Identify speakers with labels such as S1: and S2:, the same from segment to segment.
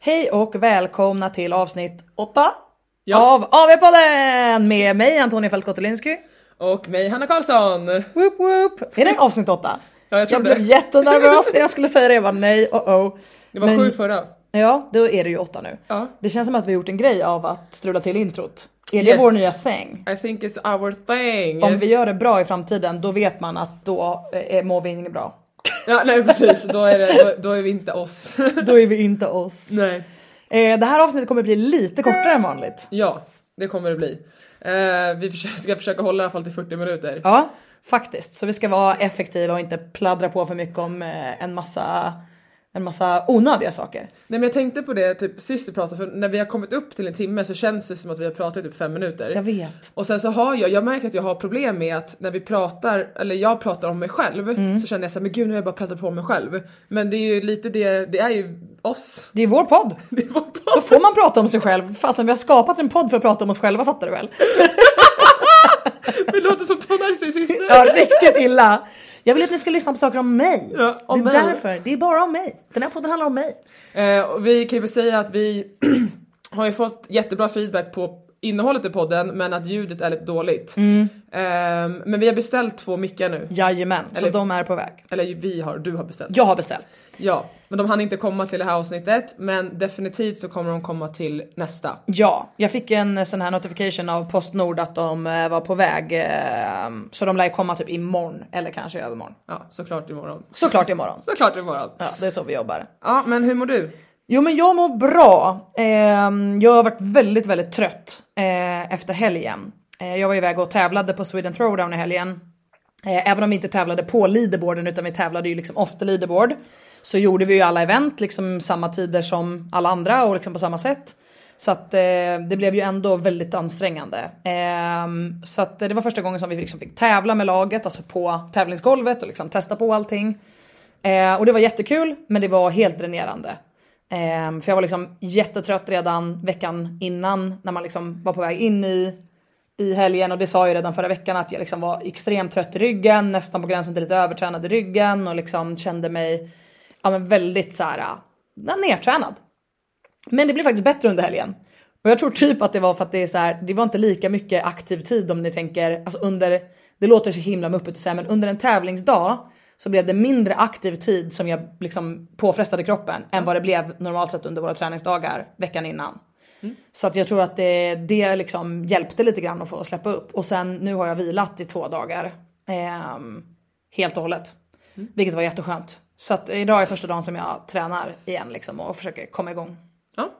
S1: Hej och välkomna till avsnitt 8 av AV-podden med mig Antonia Fältkottolinsky.
S2: Och mig Hanna Karlsson!
S1: Woop woop. Är det avsnitt 8?
S2: Ja, jag tror det.
S1: blev jättenervös när jag skulle säga det, jag bara nej, oh oh.
S2: Det var
S1: Men-
S2: sju förra.
S1: Ja, då är det ju 8 nu.
S2: Ja.
S1: Det känns som att vi har gjort en grej av att strula till introt. Är det
S2: Yes.
S1: vår nya thing?
S2: I think it's our thing.
S1: Om vi gör det bra i framtiden, då vet man att då eh, mår vi inget bra.
S2: Ja, nej precis, då är, det, då, då är vi inte oss.
S1: Då är vi inte oss.
S2: nej.
S1: Eh, det här avsnittet kommer bli lite kortare än vanligt.
S2: Ja, det kommer det bli. Eh, vi försöker, ska försöka hålla i alla fall till 40 minuter.
S1: Ja, faktiskt. Så vi ska vara effektiva och inte pladdra på för mycket om eh, en massa, en massa onödiga saker.
S2: Nej men jag tänkte på det typ sist vi pratade, för när vi har kommit upp till en timme så känns det som att vi har pratat i typ fem minuter.
S1: Jag vet.
S2: Och sen så har jag, jag märker att jag har problem med att när vi pratar, eller jag pratar om mig själv
S1: Mm.
S2: så känner jag såhär men gud nu har jag bara pratat på mig själv. Men det är ju lite det, det är ju oss.
S1: Det är vår podd.
S2: Det är vår podd.
S1: Då får man prata om sig själv. Fastän vi har skapat en podd för att prata om oss själva fattar du väl?
S2: Vi låter som två narcissister.
S1: Ja, riktigt illa. Jag vill att ni ska lyssna på saker om mig.
S2: Ja, om
S1: det är
S2: mig.
S1: därför. Det är bara om mig. Den här podden handlar om mig.
S2: Eh, och vi kan ju väl säga att vi har ju fått jättebra feedback på innehållet i podden men att ljudet är lite dåligt.
S1: Mm.
S2: Ehm, men vi har beställt två mickar nu.
S1: Jajamän, så
S2: Eller-
S1: de är på väg.
S2: Eller ju vi har, du har beställt.
S1: Jag har beställt.
S2: Ja, men de hann inte komma till det här avsnittet men definitivt så kommer de komma till nästa.
S1: Ja, jag fick en sån här notification av Postnord att de eh, var på väg. eh, Så de lär komma typ imorgon eller kanske i övermorgon.
S2: Ja, såklart imorgon.
S1: Såklart imorgon.
S2: Såklart imorgon. Ja,
S1: Ja, det är så vi jobbar.
S2: ja men hur mår du?
S1: Jo men jag mår bra. Ehm, jag har varit väldigt väldigt trött eh, efter helgen. Eh, jag var iväg och tävlade på Sweden Throwdown i helgen. Eh, även om vi inte tävlade på leaderboarden utan vi tävlade ju liksom off the leaderboard. Så gjorde vi ju alla event liksom samma tider som alla andra och liksom på samma sätt. Så att eh, det blev ju ändå väldigt ansträngande. Ehm, så att eh, det var första gången som vi liksom fick tävla med laget, alltså på tävlingsgolvet och liksom testa på allting. Eh, och det var jättekul men det var helt dränerande. Eh, för jag var liksom jättetrött redan veckan innan när man liksom var på väg in i, i helgen och det sa jag ju redan förra veckan att jag liksom var extremt trött i ryggen, nästan på gränsen till lite övertränad i ryggen och liksom kände mig ja, men väldigt så här, ja, nedtränad. Men det blev faktiskt bättre under helgen. Och jag tror typ att det var för att det är så här, det var inte lika mycket aktiv tid om ni tänker, alltså under, det låter så himla muppigt att säga men under en tävlingsdag så blev det mindre aktiv tid som jag liksom påfrestade kroppen än vad det blev normalt sett under våra träningsdagar veckan innan. Så att jag tror att det, det liksom hjälpte lite grann att få släppa upp och sen nu har jag vilat i två dagar. Ehm, helt och hållet. Vilket var jätteskönt. Så att idag är första dagen som jag tränar igen liksom och försöker komma igång.
S2: Ja,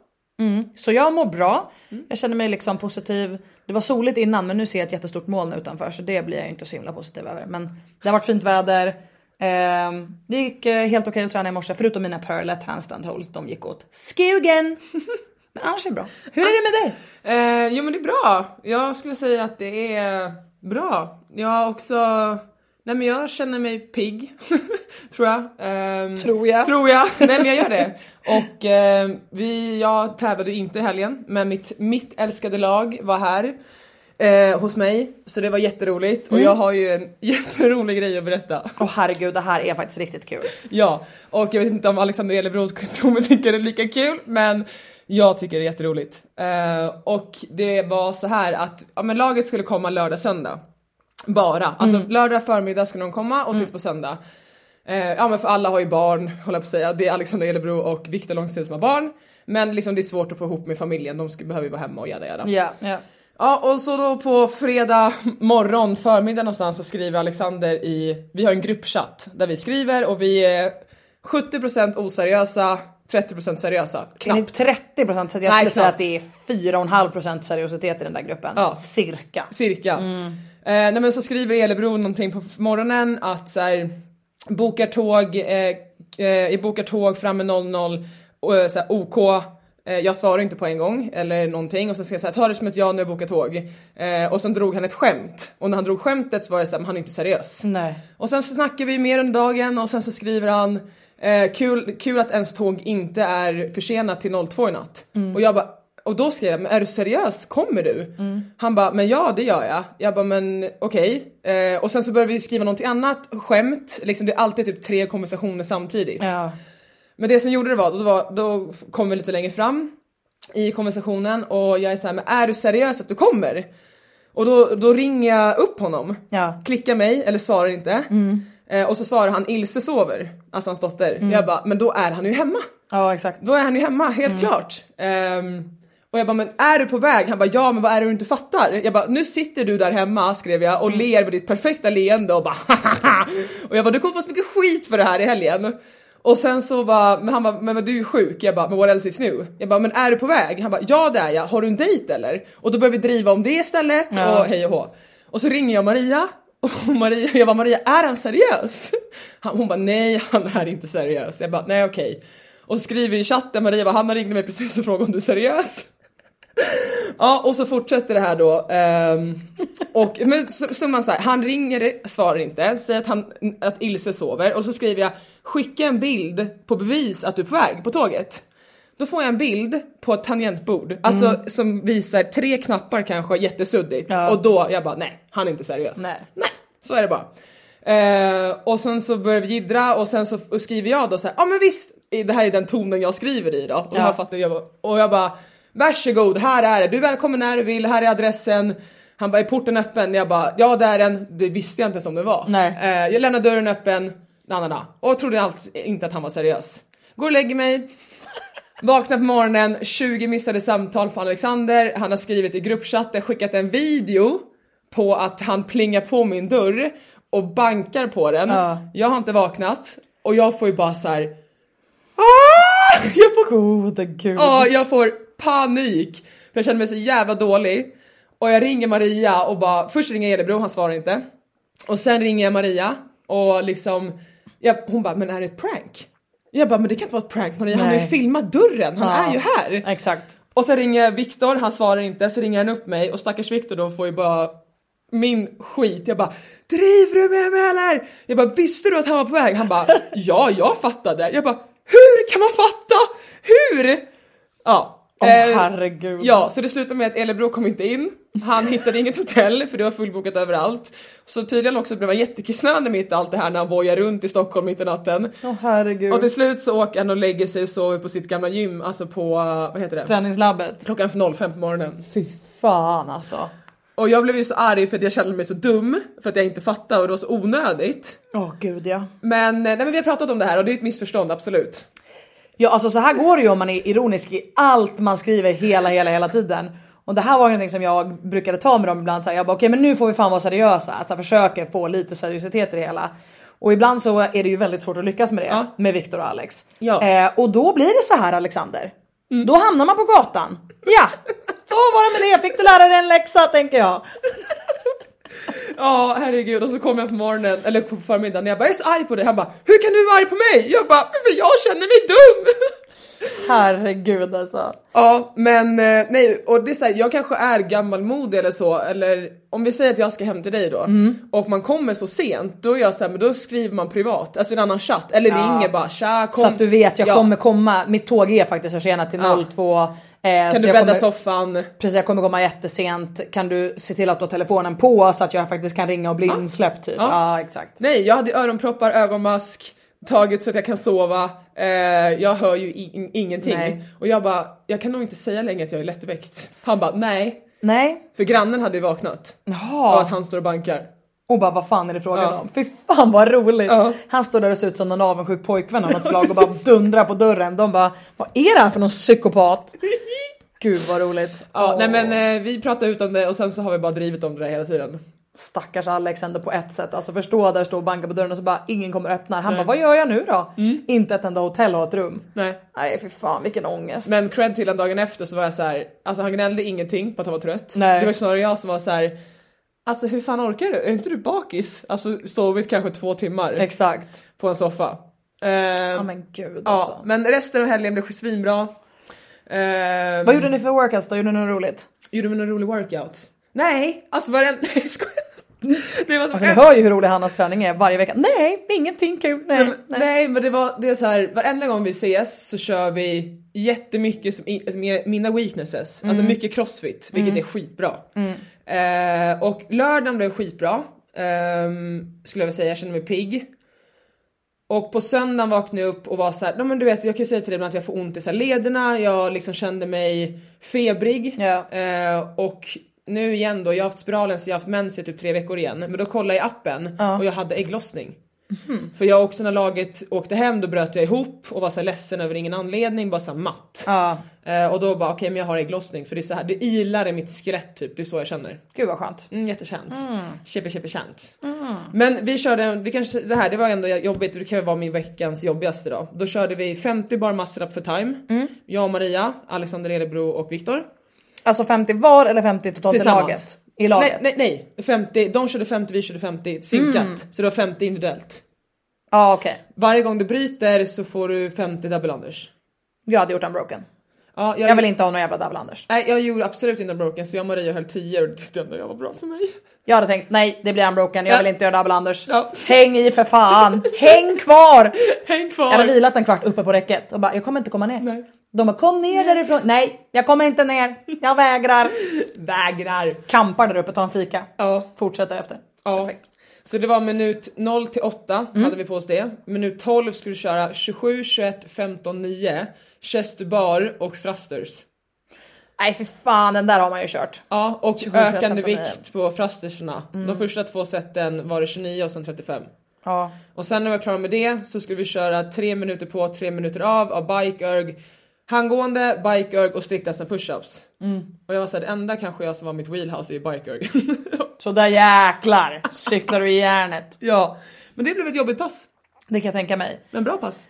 S1: Så jag mår bra.
S2: Mm.
S1: Jag känner mig liksom positiv. Det var soligt innan men nu ser jag ett jättestort moln utanför så det blir jag ju inte så himla positiv över. Men det har varit fint väder. Ehm, det gick eh, helt okej att träna i morse förutom mina pearlet handstand holds. De gick åt skogen. men annars är det bra. Hur är det med dig?
S2: Eh, jo men det är bra. Jag skulle säga att det är bra. Jag har också Nej men jag känner mig pigg, tror jag. Ehm,
S1: Tror jag.
S2: Tror jag. Nej men jag gör det. Och ehm, vi, jag tävlade inte i helgen, men mitt, mitt älskade lag var här eh, hos mig. Så det var jätteroligt
S1: Mm.
S2: och jag har ju en jätterolig grej att berätta.
S1: Åh herregud, det här är faktiskt riktigt kul.
S2: Ja, och jag vet inte om Alexander Elefroth Tome tycker det är lika kul men jag tycker det är jätteroligt. Eh, och det var så här att ja, men laget skulle komma lördag söndag. Bara. Alltså lördag förmiddag skulle de komma och tills på söndag. Eh, ja men för alla har ju barn, håller jag på att säga. Det är Alexander Elebro och Viktor Långstrump som har barn. Men liksom det är svårt att få ihop med familjen, de ska, behöver ju vara hemma och jada jada.
S1: Ja, ja.
S2: Ja och så då på fredag morgon, förmiddag någonstans så skriver Alexander i, vi har en gruppchatt där vi skriver och vi är 70% oseriösa, 30% seriösa.
S1: Är ni
S2: Knappt.
S1: 30% seriösa? Jag
S2: Nej,
S1: skulle säga
S2: knappt.
S1: att det är 4,5% seriositet i den där gruppen.
S2: Ja.
S1: Cirka.
S2: Cirka. Eh, nej men så skriver Elebro någonting på morgonen att så här, bokar tåg, eh, eh, jag bokar tåg framme 00, och, eh, så här, OK, eh, jag svarar inte på en gång eller någonting och sen ska jag säga ta det som ett ja när jag bokar tåg. Eh, och sen drog han ett skämt och när han drog skämtet så var det såhär, han är inte seriös.
S1: Nej.
S2: Och sen så snackar vi mer under dagen och sen så skriver han eh, kul, kul att ens tåg inte är försenat till 02 i natt. Och jag bara och då skrev jag men är du seriös? Kommer du? Han bara men ja det gör jag. Jag bara men okej. Eh, och sen så började vi skriva någonting annat, skämt, liksom det är alltid typ tre konversationer samtidigt.
S1: Ja.
S2: Men det som gjorde det var, då, var, då kom vi lite längre fram i konversationen och jag är såhär men är du seriös att du kommer? Och då, då ringer jag upp honom,
S1: Ja.
S2: klickar mig eller svarar inte. Eh, och så svarar han Ilse sover, alltså hans dotter. Jag bara men då är han ju hemma.
S1: ja, exakt.
S2: Då är han ju hemma helt klart. Ehm, och jag bara men är du på väg? Han bara ja men vad är det du inte fattar? Jag bara nu sitter du där hemma skrev jag och ler med ditt perfekta leende och bara "Hahaha." Och jag bara du kommer få så mycket skit för det här i helgen. Och sen så bara, men han bara, men, men du är ju sjuk. Jag bara, men what else is new? Jag bara, men är du på väg? Han bara, ja det är jag. Har du en dejt eller? Och då börjar vi driva om det istället
S1: Ja.
S2: och hej och hå. Och så ringer jag Maria och Maria, jag bara Maria är han seriös? Han, hon bara nej han är inte seriös. Jag bara nej okej. Och så skriver i chatten Maria bara han ringde mig precis och frågade om du är seriös. Ja och så fortsätter det här då. ehm, och men så, så man så här, han ringer, svarar inte, säger att, han, att Ilse sover och så skriver jag skicka en bild på bevis att du är på väg på tåget. Då får jag en bild på ett tangentbord, alltså som visar tre knappar kanske jättesuddigt
S1: Mm. Ja.
S2: och då jag bara nej, han är inte seriös.
S1: Nej.
S2: så är det bara. Eh, och sen så börjar vi jiddra och sen så f- skriver jag då så här, ja ah, men visst, det här är den tonen jag skriver i då. Och,
S1: Ja.
S2: jag fattar, jag bara, och jag bara, varsågod här är det, du är välkommen när du vill, här är adressen. Han bara, är porten öppen? Jag bara, ja det är den. Det visste jag inte som det var.
S1: Nej.
S2: Eh, jag lämnar dörren öppen, na, na, na. och trodde allt, inte att han var seriös. Går och lägger mig, Vaknar på morgonen, 20 missade samtal från Alexander. Han har skrivit i gruppchatten, skickat en video på att han plingar på min dörr och bankar på den.
S1: Ja.
S2: Jag har inte vaknat och jag får ju bara så här. "Ah!" Jag får,
S1: Gode gud.
S2: ja, jag får panik. För jag känner mig så jävla dålig. Och jag ringer Maria och bara, först ringer jag Elebro, han svarar inte. Och sen ringer jag Maria och liksom, jag, hon bara, men är det ett prank? Jag bara, men det kan inte vara ett prank Maria, han har ju
S1: Nej.
S2: filmat dörren, han
S1: Ja.
S2: är ju här.
S1: Exakt.
S2: Och sen ringer jag Viktor, han svarar inte, så ringer han upp mig och stackars Viktor då får ju bara min skit. Jag bara driver du med mig eller? Jag bara visste du att han var på väg? Han bara ja, jag fattade. Jag bara hur kan man fatta? Hur? Ja.
S1: Åh
S2: eh,
S1: herregud.
S2: Ja, så det slutade med att Elebro kom inte in. Han hittade inget hotell för det var fullbokat överallt. Så tydligen också blev han jättekissnödig mitt i allt det här när han vojar runt i Stockholm mitt i natten.
S1: Åh herregud.
S2: Och till slut så åker han och lägger sig och sover på sitt gamla gym, alltså på, vad heter det?
S1: Träningslabbet.
S2: Klockan för 05 på morgonen.
S1: Fy fan alltså.
S2: Och jag blev ju så arg för att jag kände mig så dum, för att jag inte fattade och det var så onödigt.
S1: Åh gud ja.
S2: Men, eh, nej, men vi har pratat om det här och det är ett missförstånd, absolut.
S1: Ja alltså så här går det ju om man är ironisk i allt man skriver hela hela hela tiden. Och det här var ju någonting som jag brukade ta med dem ibland. Så här, jag bara okej men nu får vi fan vara seriösa. Alltså försöker få lite seriositet i det hela. Och ibland så är det ju väldigt svårt att lyckas med det
S2: Ja.
S1: med Viktor och Alex.
S2: Ja.
S1: Eh, och då blir det så här Alexander. Då hamnar man på gatan. Ja, så var det med det. Fick du lära dig en läxa tänker jag.
S2: Ja, herregud. Och så kom jag på morgonen, eller på förmiddagen, och jag bara jag är så arg på dig. Han bara hur kan du vara arg på mig? Jag bara för jag känner mig dum!
S1: Herregud alltså.
S2: Ja, men eh, nej, och det är så här, jag kanske är gammalmodig eller så, eller om vi säger att jag ska hem till dig då
S1: Mm.
S2: och man kommer så sent, då är jag så här, men då skriver man privat, alltså i en annan chatt, eller ringer bara tja kom.
S1: Så att du vet, jag
S2: Ja.
S1: kommer komma. Mitt tåg är faktiskt försenat till
S2: Ja.
S1: 02. Eh,
S2: Kan du
S1: jag
S2: bädda
S1: kommer,
S2: soffan?
S1: Precis, jag kommer komma jättesent. Kan du se till att du har telefonen på så att jag faktiskt kan ringa och bli insläppt typ? Ja,
S2: Ja.
S1: exakt.
S2: Nej, jag hade ju öronproppar, ögonmask, tagit så att jag kan sova, eh, jag hör ju in- ingenting.
S1: Nej.
S2: Och jag bara, jag kan nog inte säga längre att jag är lättväckt. Han bara nej,
S1: Nej.
S2: för grannen hade ju vaknat.
S1: Jaha.
S2: Och att han står och bankar.
S1: Och bara vad fan är det frågan
S2: Ja.
S1: om? Fy fan vad roligt!
S2: Ja.
S1: Han står där och ser ut som en avundsjuk pojkvän av något slag och bara dundrar på dörren. De bara vad är det här för någon psykopat? Gud vad roligt!
S2: Ja,
S1: Åh,
S2: nej men eh, vi pratar ut om det och sen så har vi bara drivit om det där hela tiden.
S1: Stackars Alex ändå på ett sätt. Alltså förstå där står och bankar på dörren och så bara ingen kommer och öppnar. Han bara vad gör jag nu då?
S2: Mm.
S1: Inte ett enda hotell har ett rum.
S2: Nej.
S1: Nej fy fan vilken ångest.
S2: Men cred till den dagen efter så var jag så här, alltså han gnällde ingenting på att han var trött.
S1: Nej.
S2: Det var snarare jag som var så här. Alltså hur fan orkar du? Är inte du bakis? Alltså sovit kanske två timmar
S1: Exakt.
S2: på en soffa. Eh,
S1: Ja men gud alltså.
S2: ja, men resten av helgen blev svinbra. Eh,
S1: Vad gjorde ni för workouts då? Gjorde ni något roligt?
S2: Gjorde vi någon rolig workout? Nej, alltså varenda... Nej, jag skojar. Det var som
S1: Alltså ni hör ju hur rolig Hannas träning är varje vecka. Nej, ingenting kul. Nej,
S2: Eh. Nej, men- nej men det var det är så här, varenda gång vi ses så kör vi jättemycket som, i- som är mina weaknesses, alltså
S1: Mm.
S2: mycket crossfit vilket är skitbra. Eh, och lördagen blev skitbra ehm, skulle jag vilja säga, jag kände mig pigg. Och på söndagen vaknade jag upp och var så här, "Nej, men du vet jag kan ju säga till dig ibland att jag får ont i så här lederna, jag liksom kände mig febrig.
S1: Ja.
S2: Eh, och nu igen då, jag har haft spiralen så jag har haft mens i typ tre veckor igen. Men då kollade jag i appen och jag hade ägglossning. För jag också när laget åkte hem då bröt jag ihop och var så här ledsen över ingen anledning, bara så här matt.
S1: Ja,
S2: Eh, och då bara okej men jag har ägglossning för det är så här, det ilar i mitt skelett typ, det är så jag känner.
S1: gud vad skönt.
S2: Mm, jättekänt. Kämpe, kämpe, känt.
S1: Mm.
S2: Men vi körde, en- vi kanske, det här det var ändå jobbigt, det kan ju vara min veckans jobbigaste då. Då körde vi 50 bar muscle up för time.
S1: Mm.
S2: Jag och Maria, Alexander Erebro och Viktor.
S1: Alltså 50 var eller 50 totalt i laget? I laget? Mm.
S2: Nej, nej, nej. 50, de körde 50, vi körde 50 synkat. Så det var 50 individuellt.
S1: Ja okej.
S2: Varje gång du bryter så får du 50 double unders.
S1: Jag hade gjort en broken.
S2: Ja,
S1: Jag vill inte ha någon jävla double anders.
S2: Nej, jag gjorde absolut inte broken så jag och Maria höll 10 och det tyckte ändå jag var bra för mig.
S1: Jag hade tänkt nej det blir en broken, jag
S2: Ja.
S1: vill inte göra double anders.
S2: Ja.
S1: Häng i för fan! Häng kvar!
S2: Häng
S1: Jag hade
S2: kvar!
S1: vilat en kvart uppe på räcket och bara jag kommer inte komma ner.
S2: Nej.
S1: De bara kom ner därifrån. Nej jag kommer inte ner. Jag vägrar.
S2: Vägrar!
S1: Kampar där uppe, tar en fika.
S2: Ja.
S1: Fortsätter efter.
S2: Ja. Så det var minut 0 till 8
S1: Mm.
S2: hade vi på oss det. Minut 12 skulle du köra 27, 21, 15, 9, chest to bar och thrusters.
S1: Nej för fan den där har man ju kört.
S2: Ja, och
S1: 27, 21,
S2: ökande
S1: 15, 9.
S2: vikt på thrusterserna.
S1: Mm.
S2: De första två seten var det 29 och sen 35.
S1: Ja.
S2: Och sen när vi var klara med det så skulle vi köra 3 minuter på, 3 minuter av av bike erg, handgående, bike erg och strikt nästan push-ups. Och jag var såhär, det enda kanske jag som var mitt wheelhouse är bike erg.
S1: Så där jäklar cyklar du i järnet.
S2: ja, men det blev ett jobbigt pass.
S1: Det kan jag tänka mig.
S2: Men bra pass.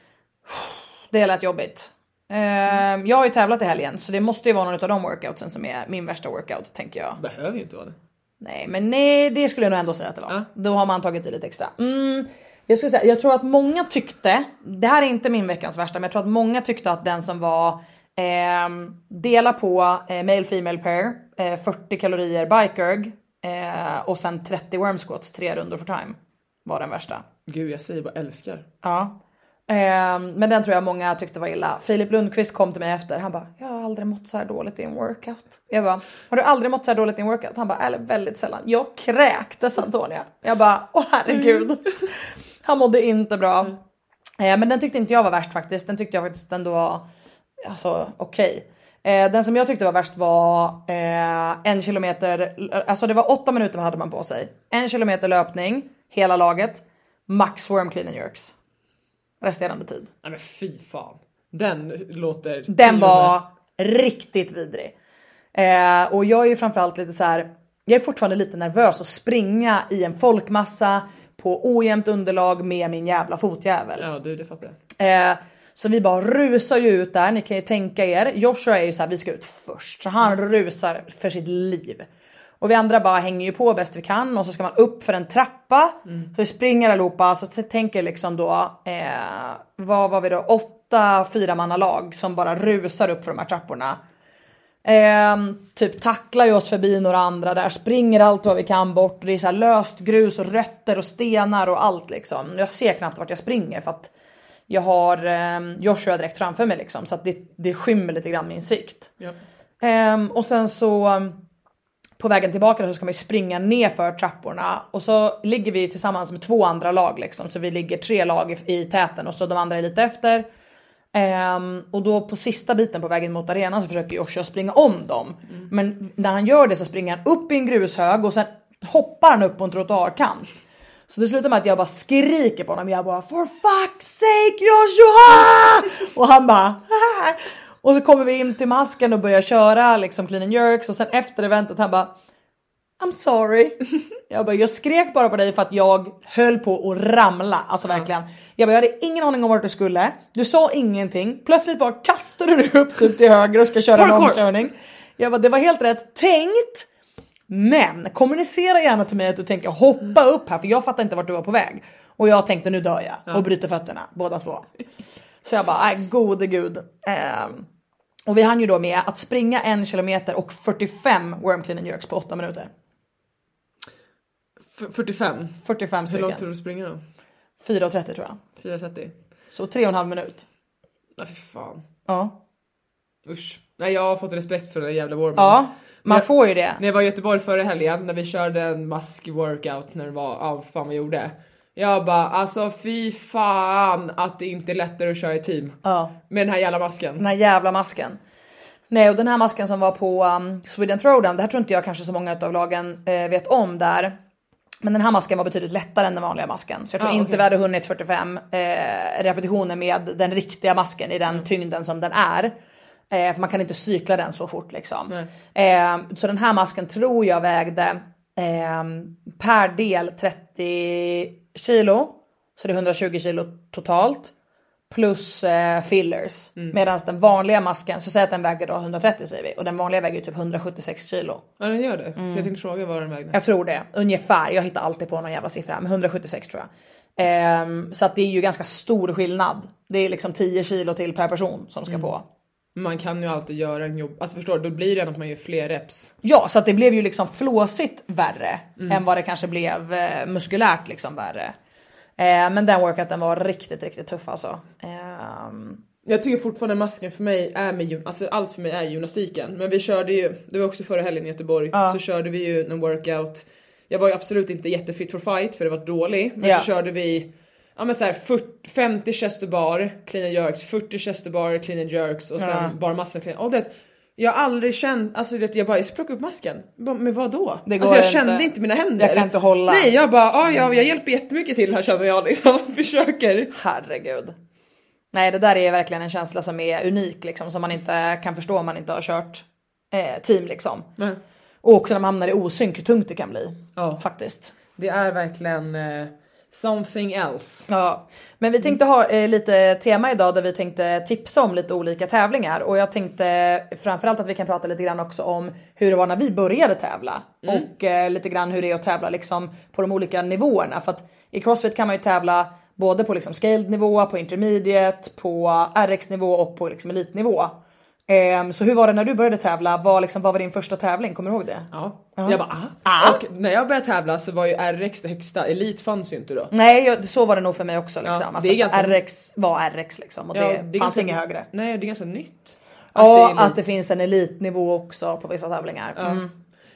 S1: Det lät jobbigt. Ehm, jag har ju tävlat i helgen så det måste ju vara någon av de workoutsen som är min värsta workout tänker jag.
S2: Behöver ju inte vara det.
S1: Nej men nej, det skulle jag nog ändå säga att det var.
S2: Ja.
S1: Då har man tagit i lite extra. Mm, jag, skulle säga, jag tror att många tyckte, det här är inte min veckans värsta men jag tror att många tyckte att den som var ehm, dela på eh, male female pair, eh, 40 kalorier bikerg eh, och sen 30 worm squats, tre rundor för time var den värsta.
S2: Gud jag säger bara älskar.
S1: Ja. Ehm, men den tror jag många tyckte var illa. Filip Lundqvist kom till mig efter. Han bara, jag har aldrig mått så här dåligt i en workout. Jag bara, har du aldrig mått så här dåligt i en workout? Han bara, eller väldigt sällan. Jag kräktes Antonia. Jag bara, åh herregud. Han mådde inte bra. Eh, men den tyckte inte jag var värst faktiskt. Den tyckte jag faktiskt ändå var alltså, okej. Eh, den som jag tyckte var värst var eh, en kilometer, alltså det var åtta minuter man hade man på sig. En kilometer löpning, hela laget, max worm clean and jerks. Resterande tid.
S2: Nej men fy fan. Den låter...
S1: Den var riktigt vidrig. Eh, och jag är ju framförallt lite så här. Jag är fortfarande lite nervös att springa i en folkmassa på ojämnt underlag med min jävla fotjävel.
S2: Ja du det fattar jag.
S1: Eh, så vi bara rusar ju ut där, ni kan ju tänka er. Joshua är ju så här, vi ska ut först. Så han rusar för sitt liv. Och vi andra bara hänger ju på bäst vi kan och så ska man upp för en trappa. Så vi springer allihopa, så t- tänker liksom då, eh, vad var vi då, 8 åtta fyramannalag som bara rusar upp för de här trapporna. Ehm, typ tacklar ju oss förbi några andra där, springer allt vad vi kan bort. Det är så här löst grus och rötter och stenar och allt liksom. Jag ser knappt vart jag springer för att jag har ehm, Joshua direkt framför mig liksom så att det, det skymmer lite grann min sikt.
S2: Ja.
S1: Ehm, och sen så ehm, på vägen tillbaka så ska man ju springa ner för trapporna och så ligger vi tillsammans med två andra lag liksom så vi ligger tre lag i, i täten och så de andra är lite efter. Ehm, och då på sista biten på vägen mot arenan så försöker Joshua springa om dem. Men när han gör det så springer han upp i en grushög och sen hoppar han upp på en trottoarkant. Så det slutar med att jag bara skriker på honom. Jag bara for fuck's sake Joshua! Och han bara "Ah!" Och så kommer vi in till masken och börjar köra liksom clean and jerks och sen efter eventet han bara I'm sorry. Jag bara, jag skrek bara på dig för att jag höll på att ramla. Alltså verkligen. Jag bara, jag hade ingen aning om vart du skulle. Du sa ingenting. Plötsligt bara kastade du upp typ till höger och ska köra en
S2: Parkour.
S1: omkörning. Jag bara, det var helt rätt tänkt. Men kommunicera gärna till mig att du tänker hoppa upp här för jag fattar inte vart du var på väg. Och jag tänkte nu dör jag och bryter fötterna båda två. Så jag bara, nej gode gud. Ehm, och vi hann ju då med att springa en kilometer och 45 worm clean and jerks på 8 minuter.
S2: F- 45.
S1: 45
S2: Hur långt
S1: stycken.
S2: tror du springer då?
S1: 4.30 tror jag.
S2: 4.30?
S1: Så 3,5 minut.
S2: Nej fy fan.
S1: Ja.
S2: Usch. Nej jag har fått respekt för den där jävla warmen.
S1: Ja, man
S2: Jag-
S1: får ju det.
S2: När jag var i Göteborg förra helgen när vi körde en mask workout när det var, ja vad fan vi gjorde. Jag bara alltså fy fan att det inte är lättare att köra i team.
S1: Ja.
S2: Med den här jävla masken.
S1: Den här jävla masken. Nej och den här masken som var på um, Sweden Throwdown, det här tror inte jag kanske så många av lagen eh, vet om där. Men den här masken var betydligt lättare än den vanliga masken. Så jag tror
S2: Ah,
S1: inte
S2: okej.
S1: vi hade hunnit 45 eh, repetitioner med den riktiga masken i
S2: Mm.
S1: den tyngden som den är. Eh, för man kan inte cykla den så fort liksom. Eh, så den här masken tror jag vägde eh, per del 30 kilo. Så det är 120 kilo totalt plus eh, fillers.
S2: Mm.
S1: Medan den vanliga masken, så säg att den väger då 130 säger vi och den vanliga väger ju typ 176 kilo.
S2: Ja den gör det. Jag tänkte fråga vad den vägde.
S1: Jag tror det, ungefär. Jag hittar alltid på någon jävla siffra, men 176 tror jag. Ehm, så att det är ju ganska stor skillnad. Det är liksom 10 kilo till per person som ska
S2: Mm.
S1: på.
S2: Man kan ju alltid göra en jobb, alltså förstår du, då blir det att man gör fler reps.
S1: Ja, så att det blev ju liksom flåsigt värre
S2: Mm.
S1: än vad det kanske blev eh, muskulärt liksom värre. Eh, men den workouten var riktigt, riktigt tuff alltså. Ehm,
S2: Jag tycker fortfarande masken för mig är med gym- alltså allt för mig är gymnastiken. Men vi körde ju, det var också förra helgen i Göteborg, så körde vi ju en workout. Jag var ju absolut inte jättefit for fight för det var dålig, men
S1: Ja.
S2: så körde vi ja men så här, 40, 50 chester bar, clean and jerks, 40 chester bar, clean and jerks och sen
S1: Ja.
S2: bara masken clean. Och det, jag har aldrig känt, alltså det, jag bara jag ska plocka upp masken. Bara, Men vad då?
S1: Det
S2: Alltså
S1: går
S2: jag
S1: inte.
S2: kände inte mina händer.
S1: Jag kan inte hålla. Mm.
S2: Nej jag bara, "Ah, ja jag, jag hjälper jättemycket till här känner jag liksom, försöker.
S1: Herregud. Nej det där är verkligen en känsla som är unik liksom som man inte kan förstå om man inte har kört eh, team liksom.
S2: Men,
S1: Och också när man hamnar i osynk hur tungt det kan bli.
S2: ja.
S1: Faktiskt.
S2: Det är verkligen eh, something else.
S1: Ja. Men vi tänkte ha eh, lite tema idag där vi tänkte tipsa om lite olika tävlingar och jag tänkte framförallt att vi kan prata lite grann också om hur det var när vi började tävla och eh, lite grann hur det är att tävla liksom på de olika nivåerna för att i crossfit kan man ju tävla både på liksom scaled nivå, på intermediate, på RX nivå och på liksom elitnivå. Ehm, så hur var det när du började tävla? Vad, liksom, vad var din första tävling? Kommer du ihåg det?
S2: Ja. Jag bara ah. Och när jag började tävla så var ju RX det högsta, elit fanns ju inte då.
S1: Nej jag, så var det nog för mig också. Liksom.
S2: Ja, det
S1: alltså,
S2: är ganska-
S1: RX var RX liksom och
S2: Ja,
S1: det,
S2: är
S1: fanns
S2: ganska-
S1: inget högre.
S2: Nej det är ganska nytt.
S1: Ja,
S2: elit.
S1: att det finns en elitnivå också på vissa tävlingar. Ja, mm.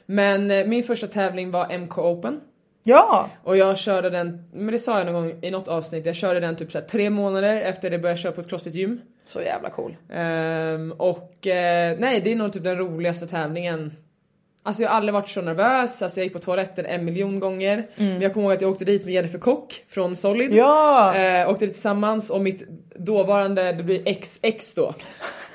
S2: Men eh, min första tävling var MK Open.
S1: ja.
S2: Och jag körde den, men det sa jag någon gång i något avsnitt, jag körde den typ så här tre månader efter det började köra på ett crossfit-gym.
S1: så jävla cool.
S2: Ehm, och eh, nej det är nog typ den roligaste tävlingen. Alltså jag har aldrig varit så nervös, alltså jag gick på toaletten en miljon gånger.
S1: Mm.
S2: Men jag kommer ihåg att jag åkte dit med Jennifer Kock från Solid.
S1: Ja!
S2: Eh, åkte dit tillsammans och mitt dåvarande, det blir XX då.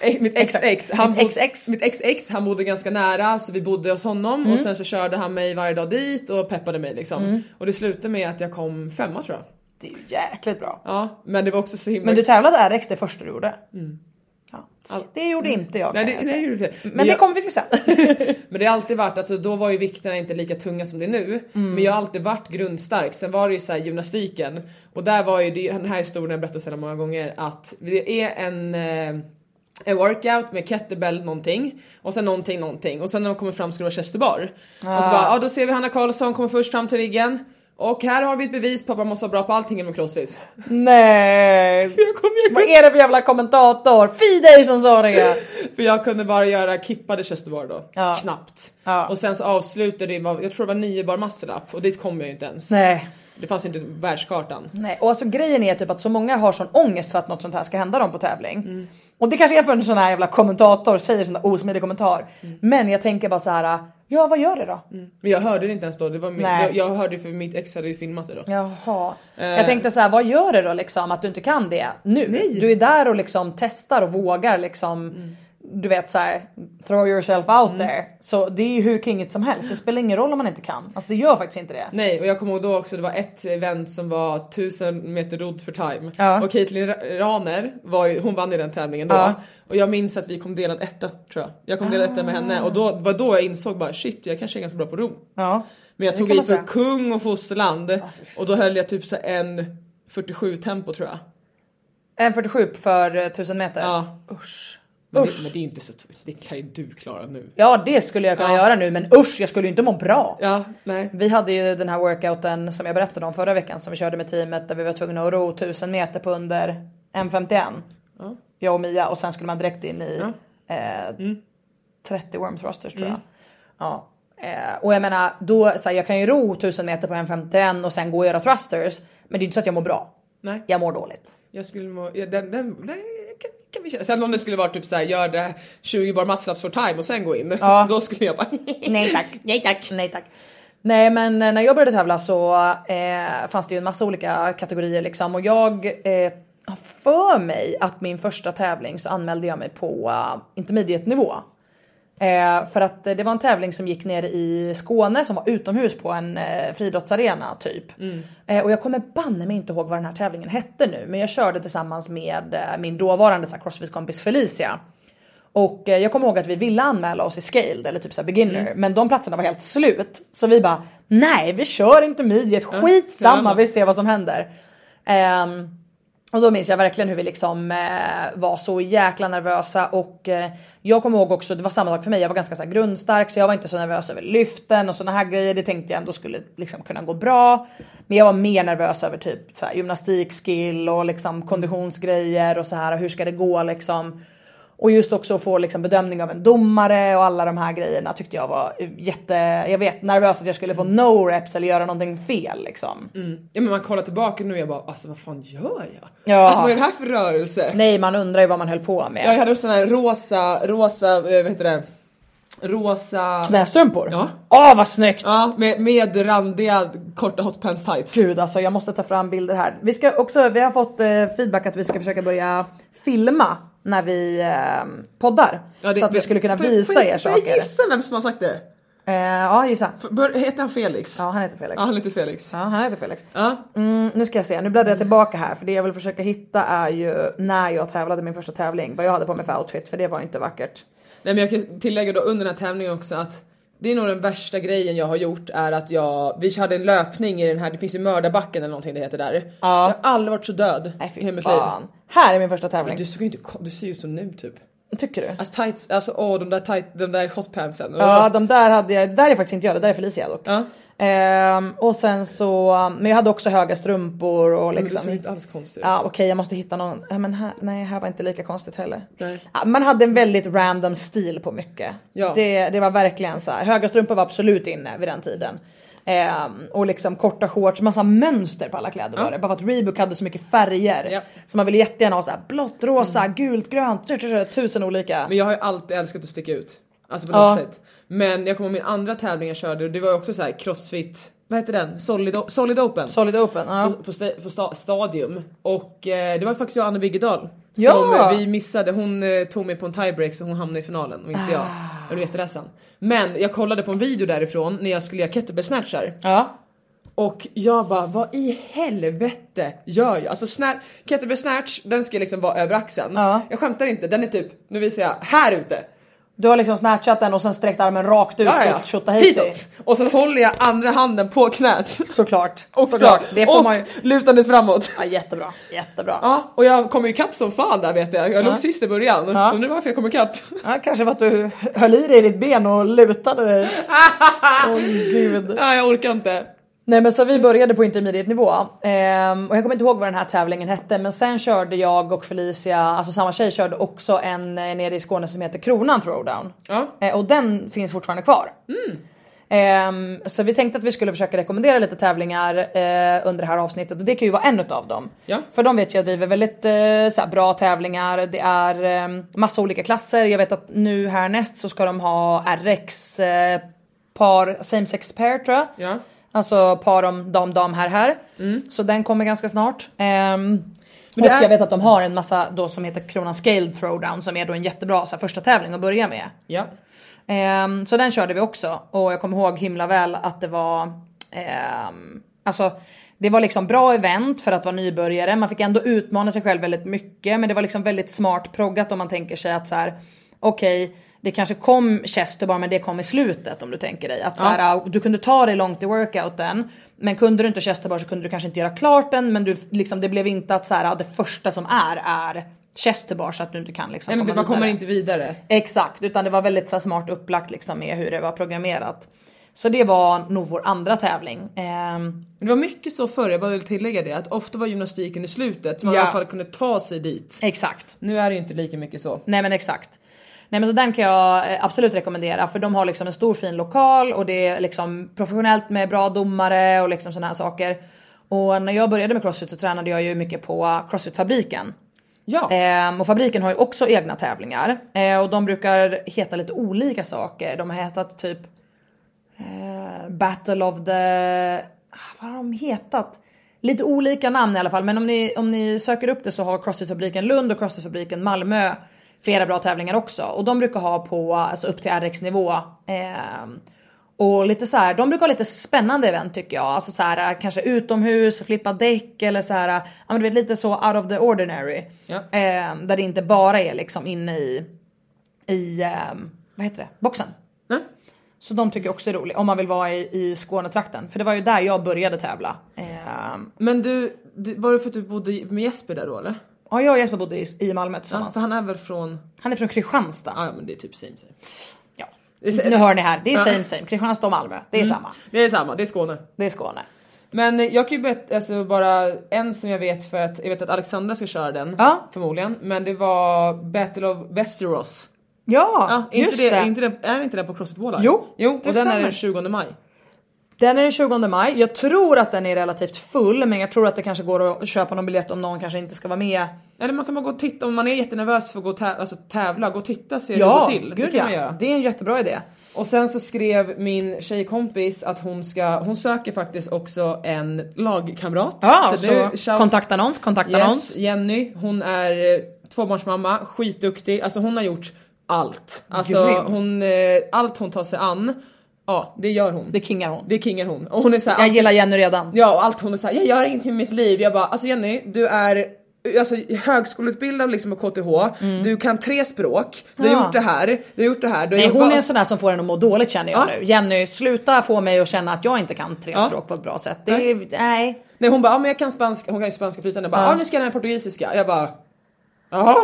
S2: Eh, Mitt XX, han
S1: Mitt
S2: bod-
S1: XX.
S2: mitt XX, han bodde ganska nära så vi bodde hos honom
S1: Mm.
S2: och sen så körde han mig varje dag dit och peppade mig liksom. Och det slutade med att jag kom femma tror jag.
S1: Det är ju jäkligt bra.
S2: Ja, men det var också så himla
S1: Men du tävlade RX det första du gjorde? Ja, det gjorde inte jag.
S2: Mm. Nej,
S1: kan
S2: det,
S1: jag
S2: nej,
S1: säga.
S2: det gjorde du inte.
S1: alltså. Men det
S2: jag-
S1: kommer vi till sen.
S2: Men det har alltid varit, alltså då var ju vikterna inte lika tunga som det är nu.
S1: Mm.
S2: Men jag har alltid varit grundstark. Sen var det ju så här gymnastiken. Och där var ju det, den här historien har jag berättat så många gånger att det är en eh, en workout med kettlebell någonting och sen någonting någonting och sen när de kommer fram ska det vara chest to bar.
S1: Ah.
S2: Och så bara, ja då ser vi Hanna Karlsson kommer först fram till riggen och här har vi ett bevis på att man måste vara bra på allting inom crossfit.
S1: nej.
S2: Jag kom, jag
S1: Vad
S2: kom,
S1: är det för jävla kommentator? Fy dig som sa det!
S2: för jag kunde bara göra kippade chest to bar då,
S1: Ja.
S2: knappt.
S1: Ja.
S2: Och sen så avslutade det, jag tror det var 9 bar muscle up och dit kom jag ju inte ens.
S1: Nej.
S2: Det fanns ju inte världskartan.
S1: Nej, och alltså grejen är typ att så många har sån ångest för att något sånt här ska hända dem på tävling. Och det kanske är för en sån här jävla kommentator säger sån där osmidig kommentar. Men jag tänker bara så här, ja vad gör det då?
S2: Men jag hörde det inte ens då, det var min,
S1: Nej.
S2: jag, jag hörde det för mitt ex hade ju filmat det då.
S1: Jaha.
S2: Eh.
S1: Jag tänkte så här, vad gör det då liksom att du inte kan det nu? Du är där och liksom testar och vågar liksom. Du vet så här, throw yourself out
S2: Mm.
S1: there. Så det är ju hur kingigt som helst. Det spelar ingen roll om man inte kan. Alltså det gör faktiskt inte det.
S2: Nej och jag kommer ihåg då också det var ett event som var 1000 meter rodd för time
S1: Ja.
S2: och Caitlyn Ra- Raner var ju, hon vann i den tävlingen då
S1: Ja.
S2: och jag minns att vi kom delad etta tror jag. Jag kom delad etta med henne och då var då jag insåg bara shit jag kanske är ganska bra på ro.
S1: Ja.
S2: Men jag
S1: Det
S2: tog
S1: kan
S2: i
S1: man säga.
S2: för kung och fosterland och då höll jag typ så en 47 tempo tror jag.
S1: En 47 för eh, 1000 meter.
S2: Ja.
S1: Usch.
S2: Men, det,
S1: Usch.
S2: men det är inte så, det kan ju du klara nu.
S1: Ja det skulle jag kunna
S2: Ja.
S1: göra nu men usch jag skulle ju inte må bra.
S2: Ja, nej.
S1: Vi hade ju den här workouten som jag berättade om förra veckan som vi körde med teamet där vi var tvungna att ro 1000 meter på under 1.51.
S2: Ja.
S1: Jag och Mia och sen skulle man direkt in i eh, 30 worm thrusters tror jag. Ja. Eh, och jag menar då, så här, jag kan ju ro 1000 meter på 1.51 och sen gå och göra thrusters. Men det är inte så att jag mår bra.
S2: Nej.
S1: Jag mår dåligt.
S2: Jag skulle må, ja, den, den, den kan, kan vi köra. Sen om det skulle vara typ såhär, gör det 20 bar muscle-ups for time och sen gå in.
S1: Ja.
S2: Då skulle jag bara
S1: Nej tack. Nej tack. Nej tack. Nej men eh, när jag började tävla så eh, fanns det ju en massa olika kategorier liksom och jag eh, har för mig att min första tävling så anmälde jag mig på eh, intermediate nivå. Eh, för att eh, det var en tävling som gick ner i Skåne som var utomhus på en eh, friidrottsarena typ.
S2: Mm.
S1: Eh, och jag kommer banne mig inte ihåg vad den här tävlingen hette nu men jag körde tillsammans med eh, min dåvarande så här, crossfit-kompis Felicia. Och eh, jag kommer ihåg att vi ville anmäla oss i scaled eller typ så här beginner
S2: Mm.
S1: men de platserna var helt slut. Så vi bara nej vi kör inte midjet, skitsamma
S2: ja.
S1: vi ser vad som händer. Ehm, och då minns jag verkligen hur vi liksom eh, var så jäkla nervösa och eh, jag kommer ihåg också, det var samma sak för mig, jag var ganska så här, grundstark så jag var inte så nervös över lyften och såna här grejer, det tänkte jag ändå skulle liksom kunna gå bra. Men jag var mer nervös över typ så här, gymnastikskill och liksom konditionsgrejer och så här, hur ska det gå liksom. Och just också att få liksom bedömning av en domare och alla de här grejerna tyckte jag var jätte, jag vet nervös att jag skulle få no reps eller göra någonting fel liksom.
S2: Ja men man kollar tillbaka nu och jag bara alltså vad fan gör jag?
S1: Ja.
S2: Alltså vad är det här för rörelse?
S1: Nej man undrar ju vad man höll på med.
S2: Jag hade också sån här rosa, rosa, eh, vad heter det? Rosa...
S1: Knästrumpor?
S2: Ja.
S1: Åh vad snyggt!
S2: Ja med, med randiga korta hotpants tights.
S1: Gud alltså jag måste ta fram bilder här. Vi, ska också, vi har fått eh, feedback att vi ska försöka börja filma när vi eh, poddar.
S2: Ja, det-
S1: så att vi skulle kunna
S2: Får-
S1: visa
S2: får jag-
S1: er
S2: får jag
S1: saker.
S2: gissa vem som har sagt det?
S1: Eh, ja gissa.
S2: För- Bör, heter han Felix?
S1: Ja han heter Felix.
S2: Ja, han heter Felix.
S1: Ja, han heter Felix.
S2: Ja.
S1: Mm, nu ska jag se, nu bläddrar jag tillbaka här för det jag vill försöka hitta är ju när jag tävlade min första tävling, vad jag hade på mig för outfit för det var inte vackert.
S2: Nej men jag kan tillägga då under den här tävlingen också att det är nog den värsta grejen jag har gjort är att jag, vi hade en löpning i den här, det finns ju mördarbacken eller någonting det heter där. Jag har aldrig varit så död
S1: Nej
S2: i hela
S1: fy
S2: mitt liv.
S1: fan. Här är min första tävling.
S2: Du såg ju inte, ko- du ser ju ut som nu typ.
S1: Tycker du?
S2: Alltså tights, alltså åh de där tight, de där hotpantsen.
S1: Ja de där hade jag, där är faktiskt inte jag, det där är Felicia dock.
S2: Ja.
S1: Ehm, och sen så, men jag hade också höga strumpor och
S2: Men du
S1: liksom.
S2: såg ju inte alls konstig ut.
S1: Ja okej jag måste hitta någon, ja, men här, nej här var inte lika konstigt heller.
S2: Nej.
S1: Ja, man hade en väldigt random stil på mycket.
S2: Ja.
S1: Det, det var verkligen så här. höga strumpor var absolut inne vid den tiden. Ehm, och liksom korta shorts, massa mönster på alla kläder var det. Bara för att Reebok hade så mycket färger.
S2: Ja. Mm.
S1: Så man ville jättegärna ha så här blått, rosa, gult, grönt, tju, tju, tju, tusen olika.
S2: Men jag har ju alltid älskat att sticka ut. Alltså på
S1: Ja.
S2: något sätt. Men jag kommer ihåg min andra tävling jag körde och det var ju också så här crossfit, vad heter den? Solid, solid open.
S1: Solid Open, ja.
S2: på, på, sta- på sta, stadium och eh, det var faktiskt jag och Anna Wiggedal
S1: Ja!
S2: som eh, vi missade. Hon eh, tog mig på en tiebreak så hon hamnade i finalen och inte jag.
S1: Ah.
S2: Jag blev jätteledsen. Men jag kollade på en video därifrån när jag skulle göra kettlebell snatchar
S1: ja.
S2: Och jag bara, vad i helvete gör jag? Alltså snär, kettlebell snatch, den ska liksom vara över axeln.
S1: Ja.
S2: Jag skämtar inte, den är typ, nu visar jag, här ute.
S1: Du har liksom snatchat den och sen sträckt armen rakt ut
S2: Ja, ja,
S1: och
S2: ja.
S1: tjottat hit dig.
S2: Hitåt! Och sen håller jag andra handen på knät.
S1: Såklart.
S2: Också.
S1: Såklart. Det får
S2: och
S1: man ju...
S2: lutandes framåt.
S1: Ja, jättebra, jättebra. Ja.
S2: Ja, och jag kom ju ikapp som fan där vet jag. Jag låg sist i början.
S1: Ja.
S2: Undrar varför jag kom ikapp.
S1: kanske för att du höll i dig i ditt ben och lutade dig. Åh gud.
S2: Nej, jag orkar inte.
S1: Nej men så vi började på intermediate nivå ehm, och jag kommer inte ihåg vad den här tävlingen hette men sen körde jag och Felicia, alltså samma tjej körde också en eh, nere i Skåne som heter Kronan Throwdown.
S2: Ja. Mm.
S1: Eh, och den finns fortfarande kvar. Ehm, så vi tänkte att vi skulle försöka rekommendera lite tävlingar eh, under det här avsnittet och det kan ju vara en av dem.
S2: Ja.
S1: För de vet jag driver väldigt eh, såhär, bra tävlingar, det är eh, massa olika klasser. Jag vet att nu härnäst så ska de ha RX eh, par, same sex pair tror jag.
S2: Ja.
S1: Alltså par om dam, dam, här, här. Så den kommer ganska snart. Ehm,
S2: det
S1: Mm. och
S2: är-
S1: jag vet att de har en massa då som heter Kronan Scaled Throwdown som är då en jättebra så här, första tävling att börja med.
S2: Ja.
S1: Ehm, så den körde vi också och jag kommer ihåg himla väl att det var ehm, Alltså det var liksom bra event för att vara nybörjare. Man fick ändå utmana sig själv väldigt mycket men det var liksom väldigt smart proggat om man tänker sig att så här okej det kanske kom Chester bara men det kom i slutet om du tänker dig. Att så här, ah, Du kunde ta dig långt i workouten men kunde du inte Chester bara så kunde du kanske inte göra klart den men du, liksom, det blev inte att så här, ah, det första som är är Chester bar så att du inte kan liksom
S2: Nej, men
S1: komma
S2: man kommer
S1: vidare.
S2: inte vidare.
S1: Exakt, utan det var väldigt så här, smart upplagt liksom med hur det var programmerat. Så det var nog vår andra tävling. Ehm,
S2: Men det var mycket så förr, jag bara vill tillägga det, att ofta var gymnastiken i slutet så man
S1: Ja.
S2: i alla fall kunde ta sig dit.
S1: exakt.
S2: Nu är det ju inte lika mycket så.
S1: Nej men exakt. Nej men så den kan jag eh, absolut rekommendera för de har liksom en stor fin lokal och det är liksom professionellt med bra domare och liksom sådana här saker. Och när jag började med crossfit så tränade jag ju mycket på crossfit-fabriken.
S2: Ja.
S1: Ehm, och fabriken har ju också egna tävlingar eh, och de brukar heta lite olika saker. De har hetat typ eh, Battle of the... ah, Vad har de hetat? Lite olika namn i alla fall men om ni, om ni söker upp det så har Crossfit-fabriken Lund och Crossfit-fabriken Malmö flera bra tävlingar också och de brukar ha på alltså upp till RX nivå. ehm, och lite så här, de brukar ha lite spännande event tycker jag. Alltså så här, eh, kanske utomhus, flippa däck eller så här, eh, ja men du vet lite så out of the ordinary.
S2: Ja.
S1: Ehm, där det inte bara är liksom inne i, i ehm, vad heter det, boxen.
S2: Nej.
S1: Så de tycker jag också är roligt om man vill vara i, i Skånetrakten. För det var ju där jag började tävla. Ehm,
S2: Men du, du, var det för att du bodde med Jesper där då eller?
S1: ja, jag och Jesper bodde i, i Malmö
S2: Ja,
S1: tillsammans.
S2: för han är väl från...
S1: Han är från Kristianstad.
S2: Ah, ja men det är typ same same.
S1: Ja.
S2: Det är, sa-
S1: Nu hör ni här, det är
S2: Ja. Mm.
S1: same same. Kristianstad och Malmö, det är samma.
S2: det är samma, det är Skåne.
S1: Det är Skåne.
S2: Men eh, jag kan ju berätta, alltså bara en som jag vet för att jag vet att Alexandra ska köra den
S1: Ja.
S2: förmodligen. Men det var Battle of Westeros.
S1: Ja,
S2: Ja, inte
S1: just
S2: det,
S1: det.
S2: Inte den, är inte den på Crossfit Bålar?
S1: Jo,
S2: jo
S1: det
S2: och den är
S1: stämmer.
S2: den 20 maj.
S1: Den är den 20 maj. Jag tror att den är relativt full men jag tror att det kanske går att köpa någon biljett om någon kanske inte ska vara med.
S2: Eller man kan bara gå och titta om man är jättenervös för att gå och tä- alltså, tävla, gå och titta se hur det går till. det
S1: gud
S2: kan man
S1: ja.
S2: göra.
S1: Det är en jättebra idé.
S2: Och sen så skrev min tjejkompis att hon ska, hon söker faktiskt också en lagkamrat.
S1: Ja, så,
S2: nu, shout-
S1: kontaktannons, kontaktannons.
S2: Yes, Jenny, hon är eh, tvåbarnsmamma, skitduktig, alltså hon har gjort allt. Alltså
S1: Grym.
S2: hon, eh, allt hon tar sig an, ja det gör hon.
S1: Det kingar hon.
S2: Det kingar hon. Och hon är såhär,
S1: Jag gillar Jenny redan.
S2: Ja och allt hon är såhär, jag gör ingenting med mitt liv. Jag bara alltså Jenny du är Alltså högskoleutbildad liksom på KTH, du kan tre språk, du har
S1: Mm. Ja.
S2: gjort det här, du har gjort det här. Du har
S1: Nej
S2: gjort
S1: hon
S2: vad- Alltså,
S1: är en sån där som får en att må dåligt känner jag
S2: Ja.
S1: nu. Jenny sluta få mig att känna att jag inte kan tre
S2: Ja.
S1: språk på ett bra sätt. Det är, nej.
S2: Nej hon bara, ja men jag kan spanska, hon kan ju spanska flytande. Jag bara, ja nu ska jag lära mig portugisiska. Jag bara, jaha?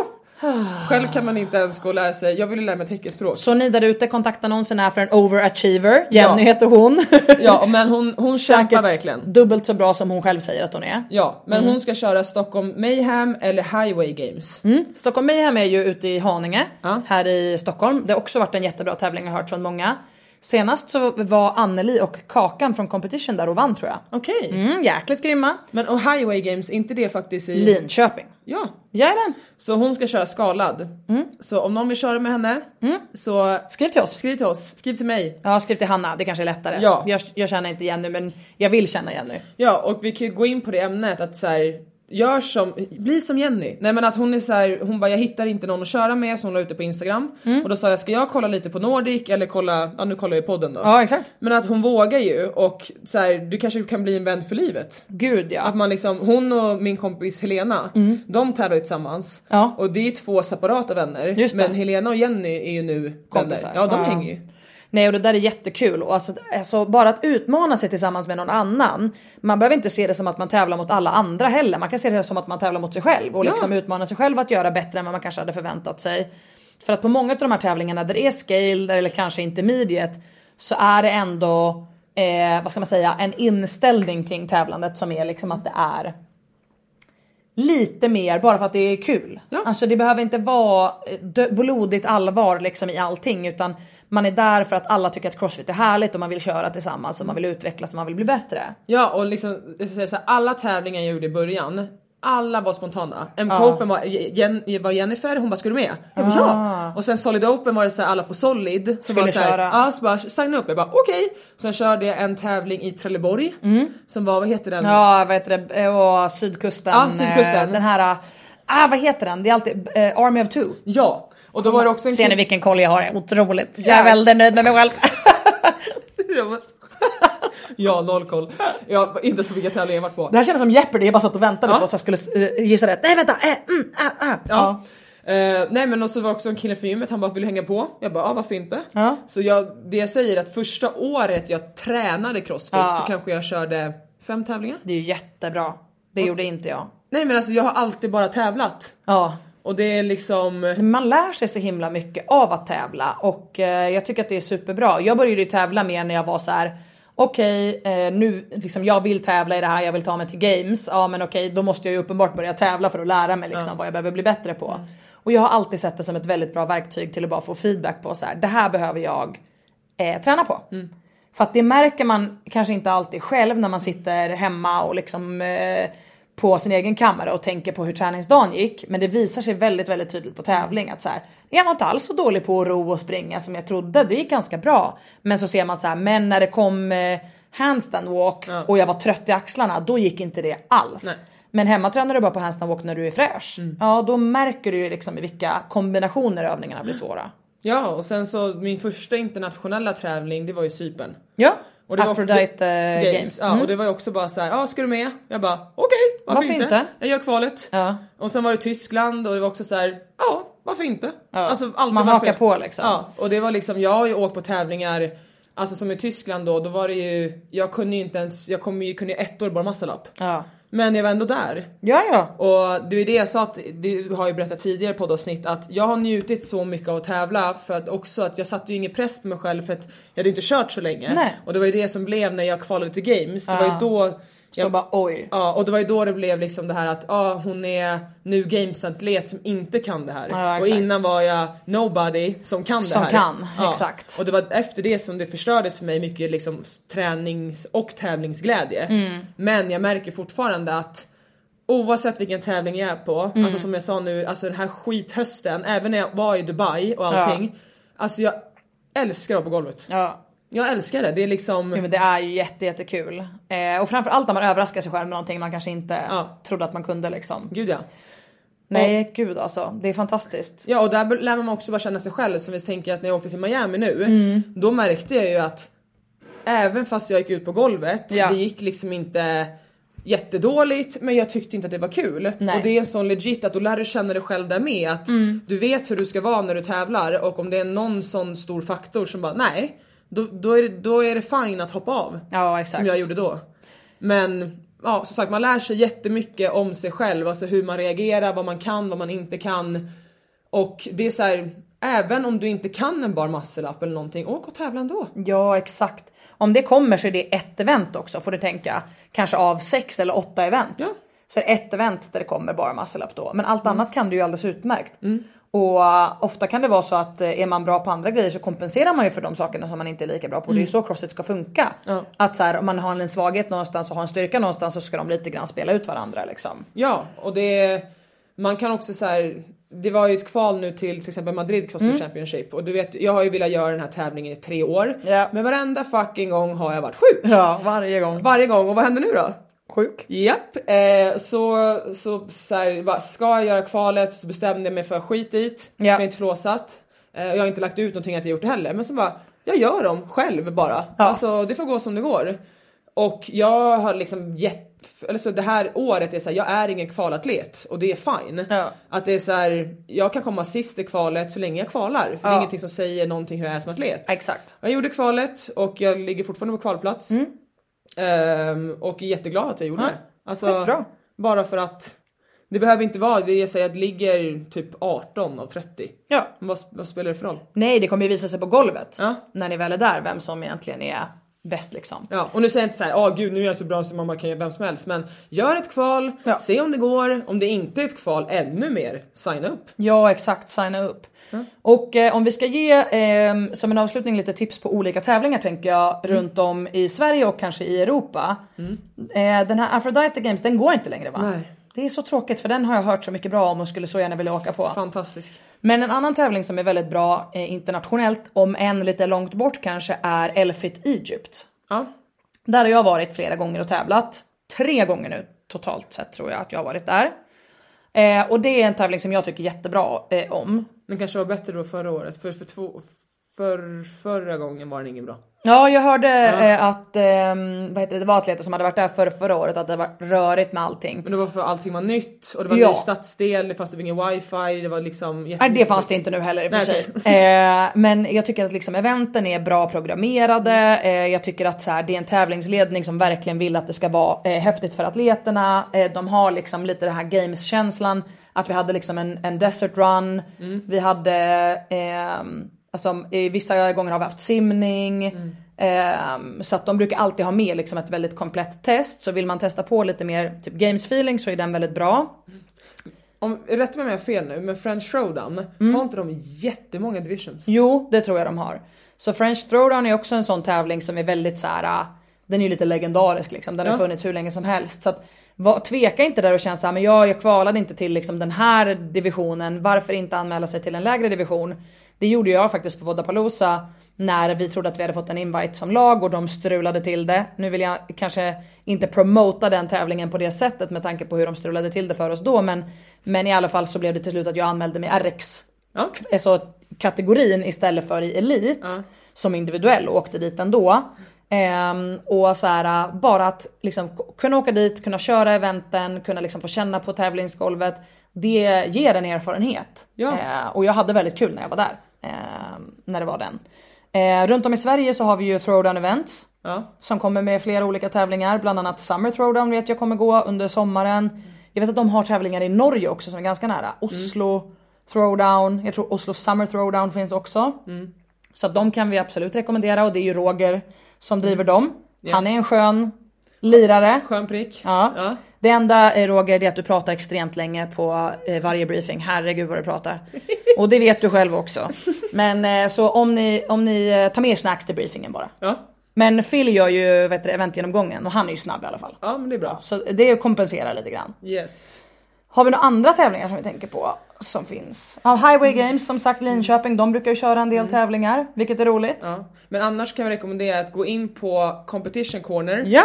S2: Själv kan man inte ens gå och lära sig, jag ville lära mig teckenspråk.
S1: Så ni där ute kontaktannonsen är för en overachiever. Jenny
S2: Ja.
S1: heter hon.
S2: Ja men hon, hon kämpar
S1: Säkert Mm.
S2: verkligen.
S1: Dubbelt så bra som hon själv säger att hon är.
S2: Ja men hon ska köra Stockholm Mayhem eller Highway Games.
S1: Mm. Stockholm Mayhem är ju ute i Haninge
S2: Ja.
S1: här i Stockholm. Det har också varit en jättebra tävling jag har hört från många. Senast så var Anneli och Kakan från competition där och vann tror jag.
S2: Okej.
S1: Mm, jäkligt grymma.
S2: Men och Highway Games, är inte det faktiskt i...
S1: Linköping.
S2: Ja.
S1: Jajamän, Mm.
S2: Så hon ska köra skalad. Så om någon vill köra med henne så
S1: skriv till oss.
S2: skriv till oss, skriv till mig.
S1: Ja skriv till Hanna, det kanske är lättare.
S2: Ja.
S1: Jag, jag känner inte Jenny men jag vill känna Jenny.
S2: Ja och vi kan ju gå in på det ämnet att så här, gör som, bli som Jenny. Nej men att hon är så här, hon bara jag hittar inte någon att köra med så hon la ut det på instagram.
S1: Mm.
S2: Och då sa jag ska jag kolla lite på Nordic eller kolla, ja nu kollar jag ju podden då.
S1: Ja exakt.
S2: Men att hon vågar ju och så här, du kanske kan bli en vän för livet.
S1: Gud ja. Mm.
S2: Att man liksom, hon och min kompis Helena, de tävlar ju tillsammans.
S1: Ja.
S2: Och det är ju två separata vänner.
S1: Just det.
S2: men Helena och Jenny är ju nu
S1: Kompisar.
S2: vänner. Ja de
S1: Ja.
S2: hänger ju.
S1: Nej och det där är jättekul och alltså, alltså bara att utmana sig tillsammans med någon annan. Man behöver inte se det som att man tävlar mot alla andra heller. Man kan se det som att man tävlar mot sig själv och
S2: Ja.
S1: liksom utmana sig själv att göra bättre än vad man kanske hade förväntat sig. För att på många av de här tävlingarna där det är scaled eller kanske intermediate så är det ändå eh, vad ska man säga en inställning kring tävlandet som är liksom att det är lite mer bara för att det är kul.
S2: Ja.
S1: Alltså det behöver inte vara eh, dö- blodigt allvar liksom i allting utan man är där för att alla tycker att crossfit är härligt och man vill köra tillsammans och man vill utvecklas och man vill bli bättre.
S2: Ja och liksom, jag ska säga så här, alla tävlingar jag gjorde i början, alla var spontana. En Open var, Jen, var Jennifer, hon bara ska du med? Jag bara ja! Och sen Solid Open var det så här, alla på Solid som
S1: Ah. Skulle
S2: var så här,
S1: köra.
S2: ja så bara signa upp, jag bara okej. Sen körde jag en tävling i Trelleborg som var, vad heter den?
S1: Mm. Ja vad heter det, Eh, och sydkusten.
S2: Ja, sydkusten.
S1: eh, Den här, eh, ah vad heter den? Det är alltid eh, Army of Two.
S2: Ja, och då var det också en
S1: Ser ni
S2: kille-
S1: vilken koll jag har? Otroligt. Jag är
S2: Jävlar.
S1: väldigt nöjd med mig själv.
S2: Jag bara- ja, noll koll. Jag inte ens på vilka tävlingar jag varit på.
S1: Det här kändes som Jeopardy, jag bara satt och väntade
S2: Ja.
S1: på att jag skulle eh, gissa rätt. Nej vänta, eh, mm, ah, ah.
S2: Ja. Eh, nej men och så var det också en kille från gymmet, han bara vill du hänga på? Jag bara ah, varför inte?
S1: Ja.
S2: Så jag, det jag säger är att första året jag tränade crossfit
S1: Ja.
S2: så kanske jag körde fem tävlingar.
S1: Det är ju jättebra. Det gjorde inte jag.
S2: Nej men alltså jag har alltid bara tävlat.
S1: Ja.
S2: Och det är liksom,
S1: Man lär sig så himla mycket av att tävla och eh, jag tycker att det är superbra. Jag började ju tävla mer när jag var så här. Okej, eh, nu liksom jag vill tävla i det här, jag vill ta mig till games. Ja, men okej, då måste jag ju uppenbart börja tävla för att lära mig liksom, vad jag behöver bli bättre på. Och jag har alltid sett det som ett väldigt bra verktyg till att bara få feedback på så här. Det här behöver jag eh, träna på. För att det märker man kanske inte alltid själv när man sitter hemma och liksom eh, på sin egen kammare och tänker på hur träningsdagen gick. Men det visar sig väldigt, väldigt tydligt på tävling att så här, jag var inte alls så dålig på att ro och springa som jag trodde. Det gick ganska bra. Men så ser man så här, men när det kom eh, handstand walk och jag var trött i axlarna, då gick inte det alls. Men hemma tränar du bara på handstand walk när du är fräsch. Ja, då märker du ju liksom i vilka kombinationer övningarna blir svåra.
S2: ja och sen så min första internationella tävling det var ju Cypern.
S1: Ja,
S2: Och det var-
S1: Aphrodite
S2: det-
S1: eh, Games.
S2: Ja, och det var ju också bara såhär, ja ah, ska du med? Jag bara okej, varför,
S1: Varför
S2: inte?
S1: inte?
S2: Jag gör kvalet.
S1: Ja.
S2: Och sen var det Tyskland och det var också så här, ja varför inte?
S1: Ja,
S2: Alltså, alltid
S1: man
S2: varför-
S1: hakar på liksom.
S2: Ja, och det var liksom, jag har ju åkt på tävlingar, alltså som i Tyskland då, då var det ju, jag kunde ju inte ens, jag kom ju, kunde ju ett år bara massalapp.
S1: Ja.
S2: Men jag var ändå där.
S1: Ja, ja.
S2: Och det är det jag sa att, du har ju berättat tidigare poddavsnitt att jag har njutit så mycket av att tävla för att också att jag satte ju ingen press på mig själv för att jag hade inte kört så länge.
S1: Nej. Ah.
S2: Och det var ju det som blev när jag kvalade till games, det var ju då
S1: Så
S2: jag,
S1: bara oj.
S2: Ja och det var ju då det blev liksom det här att ah, hon är nu gamesatlet som inte kan det här.
S1: Ja,
S2: och
S1: exakt.
S2: innan var jag nobody som kan
S1: Som
S2: det här.
S1: kan, exakt.
S2: Och det var efter det som det förstördes för mig mycket liksom s- tränings och tävlingsglädje.
S1: Mm.
S2: Men jag märker fortfarande att Oavsett vilken tävling jag är på,
S1: Mm.
S2: alltså som jag sa nu, alltså den här skithösten, även när jag var i Dubai och allting. Alltså jag älskar att vara på golvet.
S1: Ja.
S2: Jag älskar det, det är liksom...
S1: Jo, men det är ju jätte, jättekul. Eh, och framförallt när man överraskar sig själv med någonting man kanske inte
S2: Ja.
S1: trodde att man kunde liksom.
S2: Gud ja.
S1: Nej gud alltså, det är fantastiskt.
S2: Ja och där lär man också bara känna sig själv som vi tänker att när jag åkte till Miami nu
S1: Mm.
S2: då märkte jag ju att även fast jag gick ut på golvet,
S1: Ja.
S2: det gick liksom inte jättedåligt men jag tyckte inte att det var kul.
S1: Nej. Mm.
S2: Och det är så legit att då lär du känna dig själv där med att du vet hur du ska vara när du tävlar och om det är någon sån stor faktor som bara nej, då, då, är, det, då är det fine att hoppa av.
S1: Ja, exakt.
S2: Som jag gjorde då. Men ja, som sagt man lär sig jättemycket om sig själv, alltså hur man reagerar, vad man kan, vad man inte kan. Och det är så här, även om du inte kan en bar muscle-up eller någonting, åk och tävla ändå.
S1: Ja exakt. Om det kommer så är det ett event också får du tänka. Kanske av sex eller åtta event.
S2: Ja.
S1: Så är det ett event där det kommer bara muscle up då. Men allt annat kan du ju alldeles utmärkt. Och eh, ofta kan det vara så att eh, är man bra på andra grejer så kompenserar man ju för de sakerna som man inte är lika bra på. Det är ju så crossfit ska funka.
S2: Ja.
S1: Att så här, om man har en svaghet någonstans och har en styrka någonstans så ska de lite grann spela ut varandra liksom.
S2: Ja, och det... Man kan också så här. Det var ju ett kval nu till till exempel Madrid Crossfit
S1: Mm.
S2: Championship och du vet jag har ju velat göra den här tävlingen i tre år
S1: Ja.
S2: men varenda fucking gång har jag varit sjuk.
S1: Ja varje gång.
S2: Varje gång och vad händer nu då?
S1: Sjuk.
S2: Japp, eh, så, så, så här, bara, ska jag göra kvalet så bestämde jag mig för skit dit,
S1: Ja.
S2: för jag har inte flåsat. Eh, och jag har inte lagt ut någonting att jag gjort det heller men så bara, jag gör dem själv bara.
S1: Ja.
S2: Alltså det får gå som det går. Och jag har liksom gett, eller så det här året är så här, jag är ingen kvalatlet och det är fine.
S1: Ja.
S2: Att det är så här, jag kan komma sist i kvalet så länge jag kvalar för det
S1: Ja.
S2: är ingenting som säger någonting hur jag är som atlet.
S1: Exakt.
S2: Jag gjorde kvalet och jag ligger fortfarande på kvalplats. Ehm, och är jätteglad att jag gjorde
S1: Mm. Ja,
S2: det. Alltså,
S1: skitbra.
S2: bara för att det behöver inte vara, det jag säger att ligger typ 18 av 30.
S1: Ja.
S2: Men Vad, vad spelar det för roll?
S1: Nej det kommer ju visa sig på golvet.
S2: Ja.
S1: När ni väl är där vem som egentligen är bäst liksom.
S2: Ja, och nu säger jag inte såhär, åh gud nu är jag så bra så mamma kan göra vem som helst. Men gör ett kval,
S1: Ja.
S2: se om det går. Om det inte är ett kval, ännu mer, signa upp.
S1: Ja exakt, signa upp. Och eh, om vi ska ge ehm, som en avslutning lite tips på olika tävlingar tänker jag runt om i Sverige och kanske i Europa. Eh, den här Aphrodite Games den går inte längre va?
S2: Nej.
S1: Det är så tråkigt för den har jag hört så mycket bra om och skulle så gärna vilja åka på.
S2: Fantastiskt.
S1: Men en annan tävling som är väldigt bra eh, internationellt, om än lite långt bort kanske, är Elfit Egypt.
S2: Ja.
S1: Där har jag varit flera gånger och tävlat. Tre gånger nu totalt sett tror jag att jag har varit där. Eh, och det är en tävling som jag tycker jättebra eh, om.
S2: Den kanske var bättre då förra året, för, för, två, för förra gången var den ingen bra.
S1: Ja jag hörde eh, att ehm, vad heter det, det var atleter som hade varit där för, förra året att det var rörigt med allting.
S2: Men det var för allting var nytt och det var
S1: Ja.
S2: ny stadsdel, det fanns typ ingen wifi, det var liksom
S1: Nej
S2: jättemycket-
S1: det fanns det inte nu heller i och för sig.
S2: Nej,
S1: Eh, men jag tycker att liksom eventen är bra programmerade. Eh, jag tycker att så här, det är en tävlingsledning som verkligen vill att det ska vara eh, häftigt för atleterna. Eh, de har liksom lite den här games-känslan. Att vi hade liksom en, en desert run.
S2: Mm.
S1: Vi hade, ehm, alltså, i vissa gånger har vi haft simning.
S2: Mm.
S1: Ehm, så att de brukar alltid ha med liksom ett väldigt komplett test. Så vill man testa på lite mer typ games-feeling så är den väldigt bra.
S2: Om, rätta mig om jag har fel nu, men French Showdown,
S1: Mm.
S2: har inte de jättemånga divisions?
S1: Jo, det tror jag de har. Så French Throwdown är också en sån tävling som är väldigt så här. ah, Den är ju lite legendarisk liksom. Den har
S2: Ja.
S1: funnits hur länge som helst. Så att, va, tveka inte där och känn såhär, men jag, jag kvalade inte till liksom, den här divisionen. Varför inte anmäla sig till en lägre division? Det gjorde jag faktiskt på Vodapalooza när vi trodde att vi hade fått en invite som lag och de strulade till det. Nu vill jag kanske inte promota den tävlingen på det sättet med tanke på hur de strulade till det för oss då men, men i alla fall så blev det till slut att jag anmälde mig RX
S2: Ja.
S1: alltså, kategorin istället för i elit som individuell och åkte dit ändå. Ehm, och så här, äh, bara att liksom, k- kunna åka dit, kunna köra eventen, kunna liksom få känna på tävlingsgolvet. Det ger en erfarenhet.
S2: Ja.
S1: Eh, och jag hade väldigt kul när jag var där. ehm, när det var den. Eh, runt om i Sverige så har vi ju throwdown events.
S2: ja.
S1: Som kommer med flera olika tävlingar, bland annat Summer Throwdown vet jag kommer gå under sommaren. Jag vet att de har tävlingar i Norge också som är ganska
S2: Mm.
S1: nära. Oslo Throwdown, jag tror Oslo Summer Throwdown finns också.
S2: Mm.
S1: Så att de kan vi absolut rekommendera och det är ju Roger som driver dem. Han är en skön lirare.
S2: Mm. Skön prick.
S1: Ja.
S2: Ja.
S1: Det enda eh, Roger det är att du pratar extremt länge på eh, varje briefing. Herregud vad du pratar. Och det vet du själv också. Men eh, så om ni, om ni eh, tar med er snacks till briefingen bara.
S2: Ja.
S1: Men Phil gör ju vet du, eventgenomgången och han är ju snabb i alla fall.
S2: ja, men det är bra.
S1: Så det kompenserar lite grann.
S2: Yes.
S1: Har vi några andra tävlingar som vi tänker på som finns? Ja, Highway Games som sagt Linköping, de brukar ju köra en del tävlingar, vilket är roligt. Ja.
S2: Mm. Ja. Men annars kan vi rekommendera att gå in på competition corner.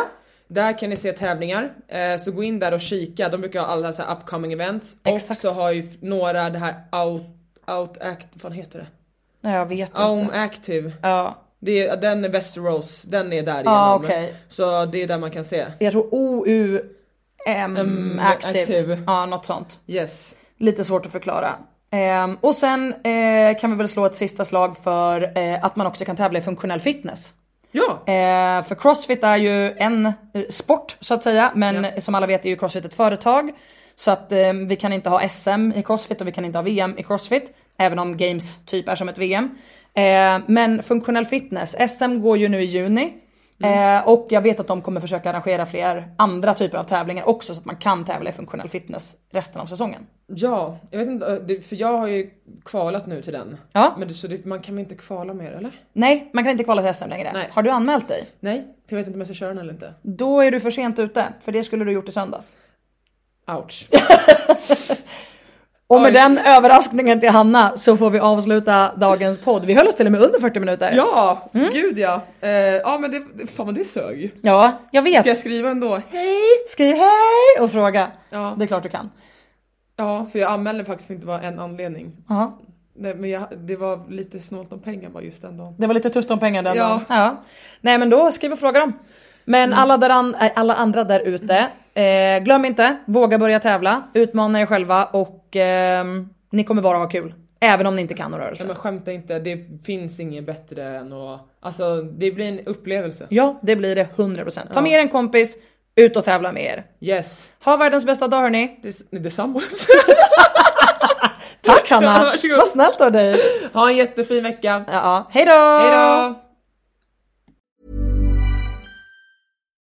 S2: Där kan ni se tävlingar, eh, så gå in där och kika. De brukar ha alla så här upcoming events. Och
S1: Exakt.
S2: så har ju f- några det här out, out act, vad fan heter det?
S1: Nej, jag vet
S2: Om
S1: inte.
S2: active.
S1: Ja.
S2: Det är, den är Westeros, den är där
S1: Ja,
S2: igenom.
S1: okej.
S2: Så det är där man kan se.
S1: Jag tror OU M active.
S2: active.
S1: Ja, något sånt.
S2: Yes.
S1: Lite svårt att förklara. Ehm, och sen eh, kan vi väl slå ett sista slag för eh, att man också kan tävla i funktionell fitness.
S2: Ja!
S1: Eh, för crossfit är ju en eh, sport så att säga men eh, som alla vet är ju crossfit ett företag. Så att eh, vi kan inte ha SM i crossfit och vi kan inte ha VM i crossfit. Även om games typ är som ett VM. Eh, men funktionell fitness, SM går ju nu i juni. Eh, och jag vet att de kommer försöka arrangera fler andra typer av tävlingar också så att man kan tävla i funktionell fitness resten av säsongen.
S2: Ja, jag vet inte, eh, det- för jag har ju kvalat nu till den.
S1: Ja.
S2: Men det- så det, man kan väl inte kvala mer eller?
S1: Nej, man kan inte kvala till SM längre.
S2: Nej.
S1: Har du anmält dig?
S2: Nej, för jag vet inte om jag ska köra den eller inte.
S1: Då är du för sent ute, för det skulle du gjort i söndags.
S2: Ouch.
S1: Och med den överraskningen till Hanna så får vi avsluta dagens podd. Vi höll oss till och med under 40 minuter.
S2: Ja,
S1: Mm.
S2: gud ja. Eh, ja men det, fan vad det sög.
S1: Ja, jag vet.
S2: Ska jag skriva ändå? Hej!
S1: Skriv hej och fråga.
S2: Ja.
S1: Det är klart du kan.
S2: Ja, för jag anmälde faktiskt för inte bara en anledning.
S1: Ja.
S2: Nej, men jag, det var lite snålt om pengar bara just den dagen.
S1: Det var lite tufft om pengar den
S2: Ja. Mm.
S1: dagen. Ja. Nej men då skriv och fråga dem. Men alla, där an, äh, alla andra där ute, eh, glöm inte, våga börja tävla, utmana er själva och ehm, ni kommer bara ha kul. Även om ni inte kan några
S2: Nej,
S1: rörelser.
S2: men skämta inte, det finns inget bättre än att... Alltså det blir en upplevelse.
S1: Typ. Ja, det blir det 100%. Ta med er en kompis, ut och tävla med er.
S2: Yes!
S1: Ha världens bästa dag hörni.
S2: Det, det är samma.
S1: Tack Hanna!
S2: Ja, varsågod.
S1: Vad snällt av dig.
S2: ha en jättefin vecka.
S1: Ja, ja. Hej då!
S2: Hejdå!